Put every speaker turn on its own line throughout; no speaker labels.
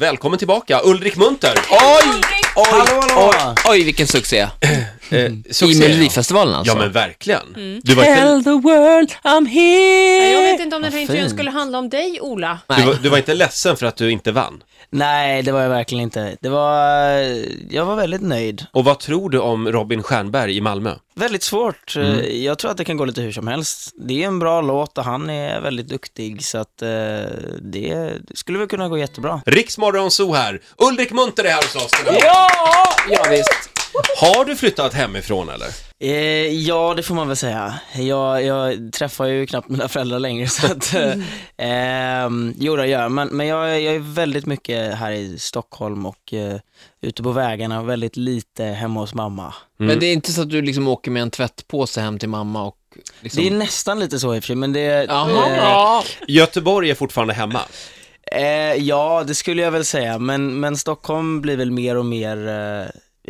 Välkommen tillbaka, Ulrik Munter!
Oj, oj,
Hallå, hallå.
oj, oj, vilken succé. I
Eh, Succé, ja.
Melodifestivalen alltså.
Ja men verkligen. Du, var inte,
Tell the world I'm
Nej, Jag
here.
vet inte om den här intervjun skulle handla om dig, Ola.
du,
Nej,
var, du var inte ledsen för att du inte vann.
Nej, det var jag verkligen inte. Det var, jag var väldigt nöjd.
Och vad tror du om Robin Stjernberg i Malmö?
Väldigt svårt. Eh, Jag tror att det kan gå lite hur som helst. Det är en bra låt och han är väldigt duktig, så att eh, det skulle väl kunna gå jättebra.
Riksmorgon så här, Ulrik Munter är här hos oss idag.
Ja, ja visst.
Har du flyttat hemifrån eller?
Eh, ja, det får man väl säga. Jag, jag träffar ju knappt mina föräldrar längre, så att, eh, ehm, jo det gör jag. Men, men jag, jag är väldigt mycket här i Stockholm och eh, ute på vägarna och väldigt lite hemma hos mamma.
Men det är inte så att du liksom åker med en tvättpåse hem till mamma och liksom...
Det är nästan lite så i och för sig, men det...
Jaha.
Göteborg är fortfarande hemma.
Eh, eh, ja, det skulle jag väl säga, men, men Stockholm blir väl mer och mer eh,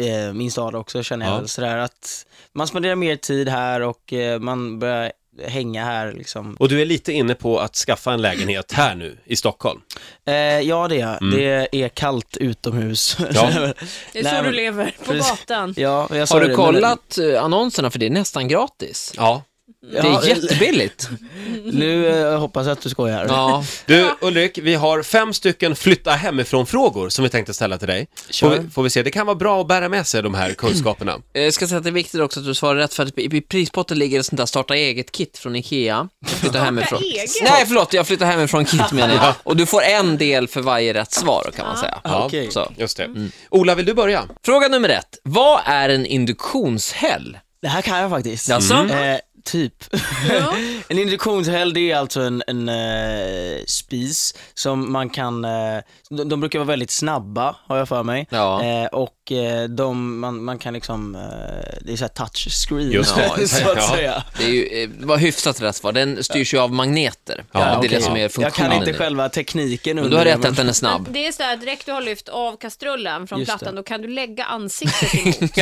eh, min stad också, känner jag
Ja.
väl sådär att man spenderar mer tid här och eh, man börjar hänga här liksom.
Och du är lite inne på att skaffa en lägenhet här nu i Stockholm.
Eh, ja, det är jag. Det är kallt utomhus.
Ja.
Mm. Det är så
Nej,
du
men-
lever, på
Precis.
gatan.
Ja, jag sa
Har
det,
du
men-
kollat eh, annonserna för det är nästan gratis?
Ja.
Ja,
Det är jättebilligt.
Nu eh, hoppas jag att du skojar.
Ja,
Du Ulrik, vi har fem stycken flytta hemifrån-frågor som vi tänkte ställa till dig. Får
Kör.
vi, får vi se, det kan vara bra att bära med sig de här kunskaperna.
Eh, jag ska säga att det är viktigt också att du svarar rätt för att i prispotten ligger ett sånt där starta eget-kit från IKEA. Jag flyttar hemifrån.
eget?
Nej, förlåt, jag flyttar hemifrån-kit menar jag. Och du får en del för varje rätt svar kan man säga.
Ja,
Okej.
Så.
Just det. Ola, vill du börja?
Fråga nummer ett. Vad är en induktionshäll?
Det här kan jag faktiskt.
Jaså? Mm.
Eh, typ. en induktionshäll det är alltså en, en eh, spis som man kan, eh, de, de brukar vara väldigt snabba har jag för mig.
Ja.
Eh, och eh, de, man, man kan liksom, eh, det är såhär touchscreen
Just det.
så att
Ja.
säga.
Det är ju, eh, var hyfsat rätt svar. Den styrs ju av magneter.
Ja,
det är
okej.
det som är
Jag
funktionen.
kan inte
i det.
själva tekniken
Men
under
du har
det,
rätt att den är snabb.
Det är så här, direkt du har lyft av kastrullen från
Just det.
plattan, då kan du lägga ansiktet emot. och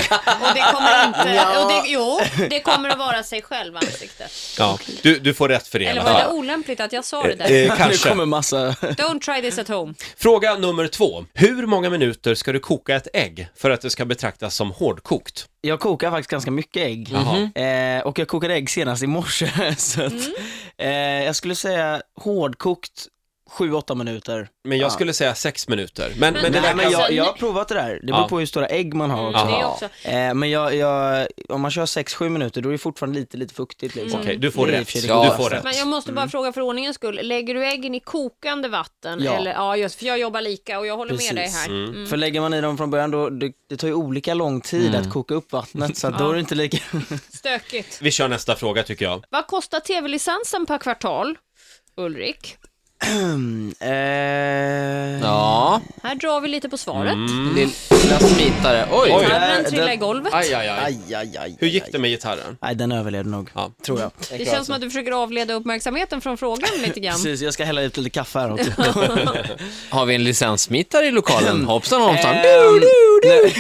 det kommer inte, och det, jo, det kommer att vara sig själv, ansiktet.
Ja. Du, du får rätt för det i
Eller
alla
var det
fall.
olämpligt att jag sa det där?
Eh,
Nu
kanske.
kommer massa
Don't try this at home.
Fråga nummer två. Hur många minuter ska du koka ett ägg för att det ska betraktas som hårdkokt?
Jag kokar faktiskt ganska mycket ägg. Eh, och jag kokade ägg senast i morse. Så att,
Mm.
eh, jag skulle säga hårdkokt 7-8 minuter.
Men
Ah.
jag
Ja.
skulle säga sex minuter. Men, men,
Men
det
Nej,
verkar...
men jag,
alltså,
jag har
ni-
provat det där. Det beror
Ja.
på hur stora ägg man har
Mm,
också.
det är
Jaha.
också.
Eh, men jag, jag, om man kör 6-7 minuter då är det fortfarande lite, lite fuktigt liksom.
Okej, du får
Det är i
rätt.
och för sig
Du
det godaste.
får rätt.
Men jag måste bara fråga för ordningens skull, lägger du äggen i kokande vatten?
Mm. Ja.
Eller, ja, just för jag jobbar lika och jag håller med dig
Precis.
här. Mm.
För lägger man i dem från början då, det, det tar ju olika lång tid
Mm.
att koka upp vattnet så att då är det inte lika...
Stökigt.
Vi kör nästa fråga tycker jag.
Vad kostar tv-licensen per kvartal? Ulrik,
Mm. eh,
Ja,
här drar vi lite på svaret.
Mm.
lilla smitare. Oj!
Oj.
Armen
Där,
trillar
där.
i golvet.
Aj, aj, aj.
Aj, aj, aj,
Hur
aj,
gick det med gitarren?
aj. Nej, den överlevde nog,
Ja.
tror jag.
Det
Alltså.
känns som att du försöker avleda uppmärksamheten från frågan lite grann.
Precis, jag ska hälla ut lite kaffe här också.
Har vi en licenssmitare i lokalen? Hoppsan hoppsan.
Ehm,
Du, du, du.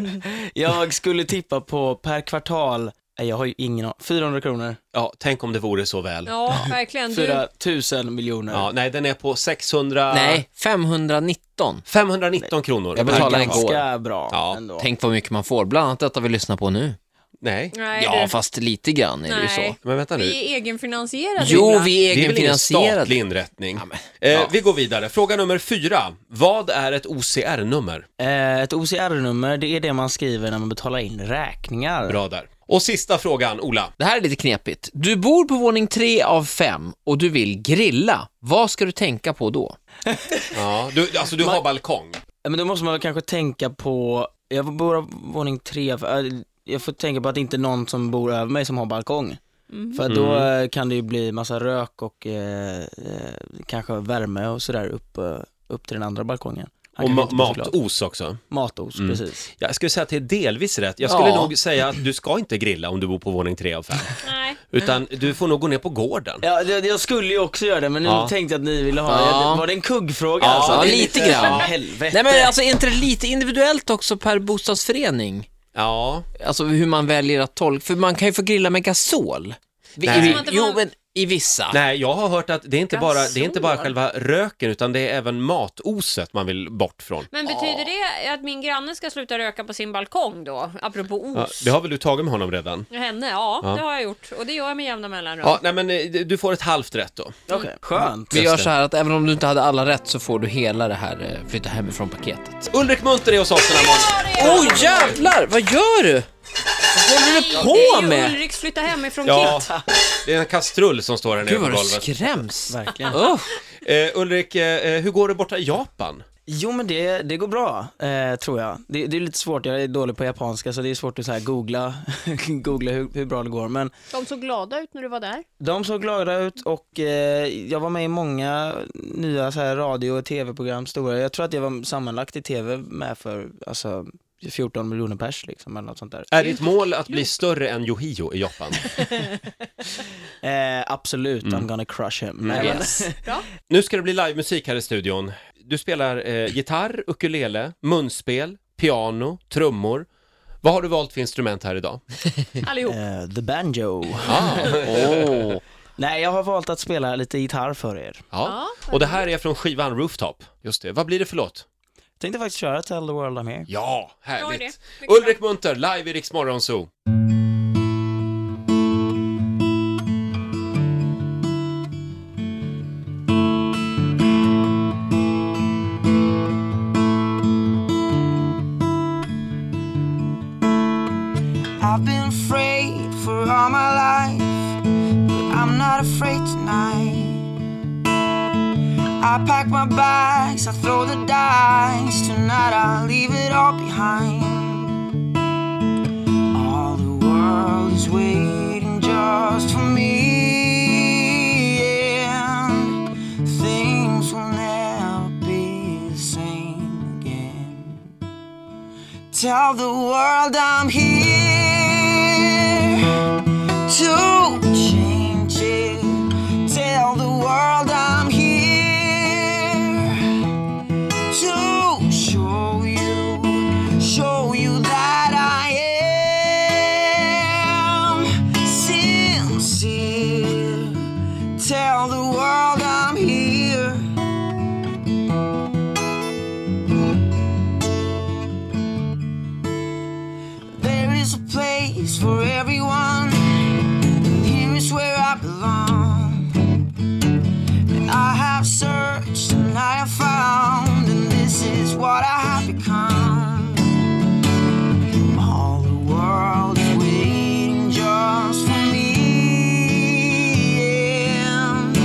nej. jag skulle tippa på per kvartal, nej jag har ju ingen aning, 400 kronor,
Ja, tänk om det vore så väl. Ja,
Ja, verkligen. Du,
4000 miljoner.
nej, den är på 600...
Nej, 519.
519 kronor.
Jag betalade
Verkar-
igår.
Ganska bra
Ja,
ändå.
Tänk vad mycket man får, bland annat detta vi lyssnar på nu.
Nej.
nej,
Ja,
du.
fast lite grann är det ju så.
Nej.
Men vänta nu.
Vi är egenfinansierade.
Jo,
Ola.
vi
Det är
är
väl ingen
egenfinansierade.
statlig inrättning?
men,
eh, vi går vidare. Fråga nummer fyra. Vad är ett OCR-nummer?
Eh, Ett OCR-nummer, det är det man skriver när man betalar in räkningar.
Bra där. Och sista frågan, Ola.
Det här är lite knepigt. Du bor på våning tre av fem och du vill grilla. Vad ska du tänka på då?
Ja, du, alltså du har balkong.
Eh, Men då måste man väl kanske tänka på, jag bor på våning tre, eh, jag får tänka på att det inte är någon som bor över mig som har balkong. För att då
Mm.
eh, kan det ju bli massa rök och eh, eh, kanske värme och sådär upp, eh, upp till den andra balkongen. Han
Och
kanske
ma-
inte blir så glad.
matos också.
Matos,
Mm.
precis.
Jag skulle säga att det är delvis rätt. Jag skulle
Ja.
nog säga att du ska inte grilla om du bor på våning tre av fem.
Nej.
Utan du får nog gå ner på gården.
Ja, det, jag skulle ju också göra det, men nu
Ja.
tänkte jag att ni ville ha
Ja.
jag, Var det en kuggfråga
Ja,
alltså? Det är
lite grann.
Helvete.
Nej men alltså är inte det lite individuellt också per bostadsförening?
Ja,
Alltså hur man väljer att tolka, för man kan ju få grilla med gasol. Vi-
Nej.
vi-
Som att det var-
Jo men i vissa.
Nej, jag har hört att det är inte bara, det är inte bara
Gasol.
själva röken utan det är även matoset man vill bort från.
Men betyder det att min granne ska sluta röka på sin balkong då? Apropå
Ja,
os.
det har väl du tagit med honom redan?
Henne, ja,
Ja.
det har jag gjort. Och det gör jag med jämna mellanrum.
Ja, nej men eh, du får ett halvt rätt då.
Okej. Skönt.
Vi gör så här att även om du inte hade alla rätt så får du hela det här eh, flytta hemifrån-paketet.
Ulrik Munter är hos oss den här morgonen.
Oj oh, jävlar, vad gör du? Vad håller du på
Det är ju
med?
Ulriks flytta hemifrån
Ja,
kit.
det är en kastrull som står här nere
Gud
på
vad du
golvet.
skräms.
Verkligen.
Usch.
Eh, Ulrik, eh, hur går det borta i Japan?
Jo men det, det går bra, eh, tror jag. Det, det är lite svårt, jag är dålig på japanska så det är svårt att så här googla, googla hur, hur bra det går. Men
De såg glada ut när du var där.
de såg glada ut och eh, jag var med i många nya så här, radio och tv-program, stora. Jag tror att jag var sammanlagt i tv med för alltså, 14 miljoner pers liksom, eller något sånt där.
Är ditt mål att bli större än Yohio i Japan?
Eh, absolut, I'm gonna crush him. Nej, men-
Yes.
Nu ska det bli livemusik här i studion. Du spelar eh, gitarr, ukulele, munspel, piano, trummor. Vad har du valt för instrument här idag?
Allihop.
eh, the banjo.
Ah, oh.
Nej, jag har valt att spela lite gitarr för er.
ja. Och det här är från skivan Rooftop. Just det, vad blir det för låt?
Tänkte faktiskt köra Tell the world I'm here.
Ja, härligt.
Bra idé. Mycket
Ulrik Munter, live i Rix Morgon Zoo.
I've been afraid for all my life, but I'm not afraid tonight. I pack my bags, I throw the dice, tonight I leave it all behind. All the world is waiting just for me, and things will never be the same again. Tell the world I'm here to change it. Tell the world I'm here to show you, show you that I am sincere. Tell the world I'm here. There is a place for everyone, and here is where I belong. And I have searched and I have found, and this is what I have become. All the world is waiting just for me. and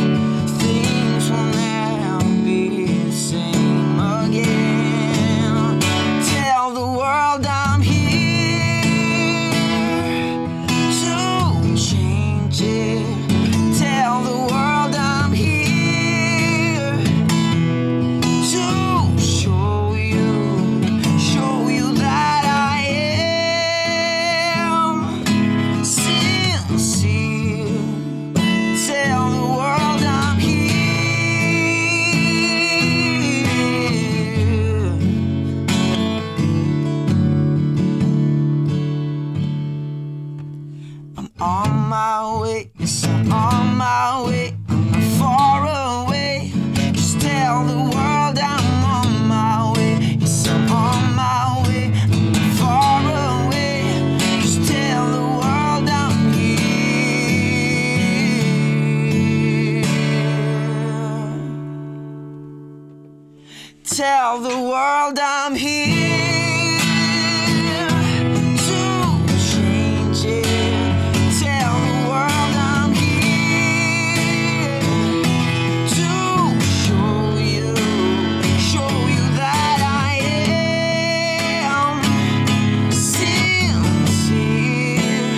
Things will never be the same again. Tell the world I'm here to change it. Tell the world I'm here to show you, show you that I am sincere. Tell the world I'm here. I'm on my way, yes, I'm on my way. I'm not far away. Just tell the world I'm on my way. Yes, I'm on my way. I'm not far away. Just tell the world I'm here. Tell the world I'm here to change it. Tell the world I'm here to show you, show you that I am sincere.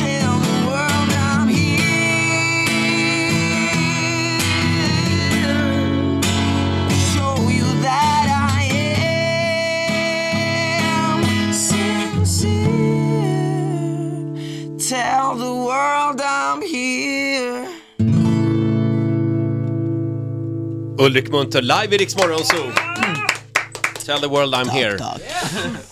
Tell the world I'm here. Show you that I am sincere. Tell the world I'm here.
Mm. Ulrik Munter, live i Rix Morgon Zoo. Tell the world I'm here.